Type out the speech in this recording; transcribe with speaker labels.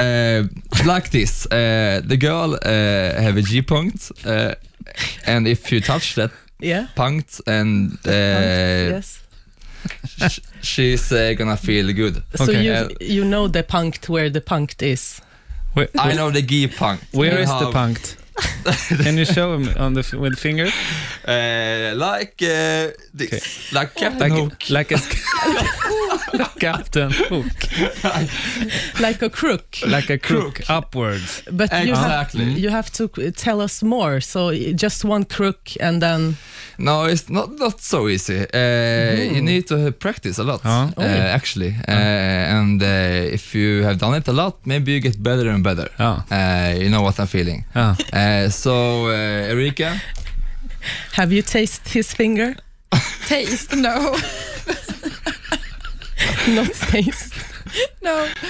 Speaker 1: It's Uh, like this. Uh, the girl uh, have a G punct, uh, and if you touch that
Speaker 2: Yeah.
Speaker 1: punct, and uh,
Speaker 2: yes.
Speaker 1: sh- she's uh, gonna feel good.
Speaker 2: So
Speaker 3: okay.
Speaker 2: you
Speaker 1: Uh,
Speaker 2: you know the punkt where the punkt is.
Speaker 3: Where,
Speaker 1: I know the G punct.
Speaker 3: where
Speaker 1: You
Speaker 3: is the
Speaker 1: have,
Speaker 3: punct? Can you show him on the f- with finger?
Speaker 1: Uh, like uh, this,
Speaker 3: Okay.
Speaker 1: like Captain
Speaker 3: Like,
Speaker 1: Hook.
Speaker 3: like a sk- captain hook,
Speaker 2: Like a crook.
Speaker 3: like a crook, upwards.
Speaker 2: But you have,
Speaker 1: Exactly.
Speaker 2: you have to uh, tell us more. So uh, just one crook and then
Speaker 1: No, it's not not so easy. Uh, You need to practice a lot,
Speaker 3: Ja.
Speaker 1: uh, actually. Uh, and uh, if you have done it a lot, maybe you get better and better.
Speaker 3: Ja.
Speaker 1: Uh, you know what I'm feeling.
Speaker 3: Ja.
Speaker 1: Uh, so, uh, Erika,
Speaker 2: have you tasted his finger?
Speaker 4: Taste, no.
Speaker 2: Not taste.
Speaker 4: no.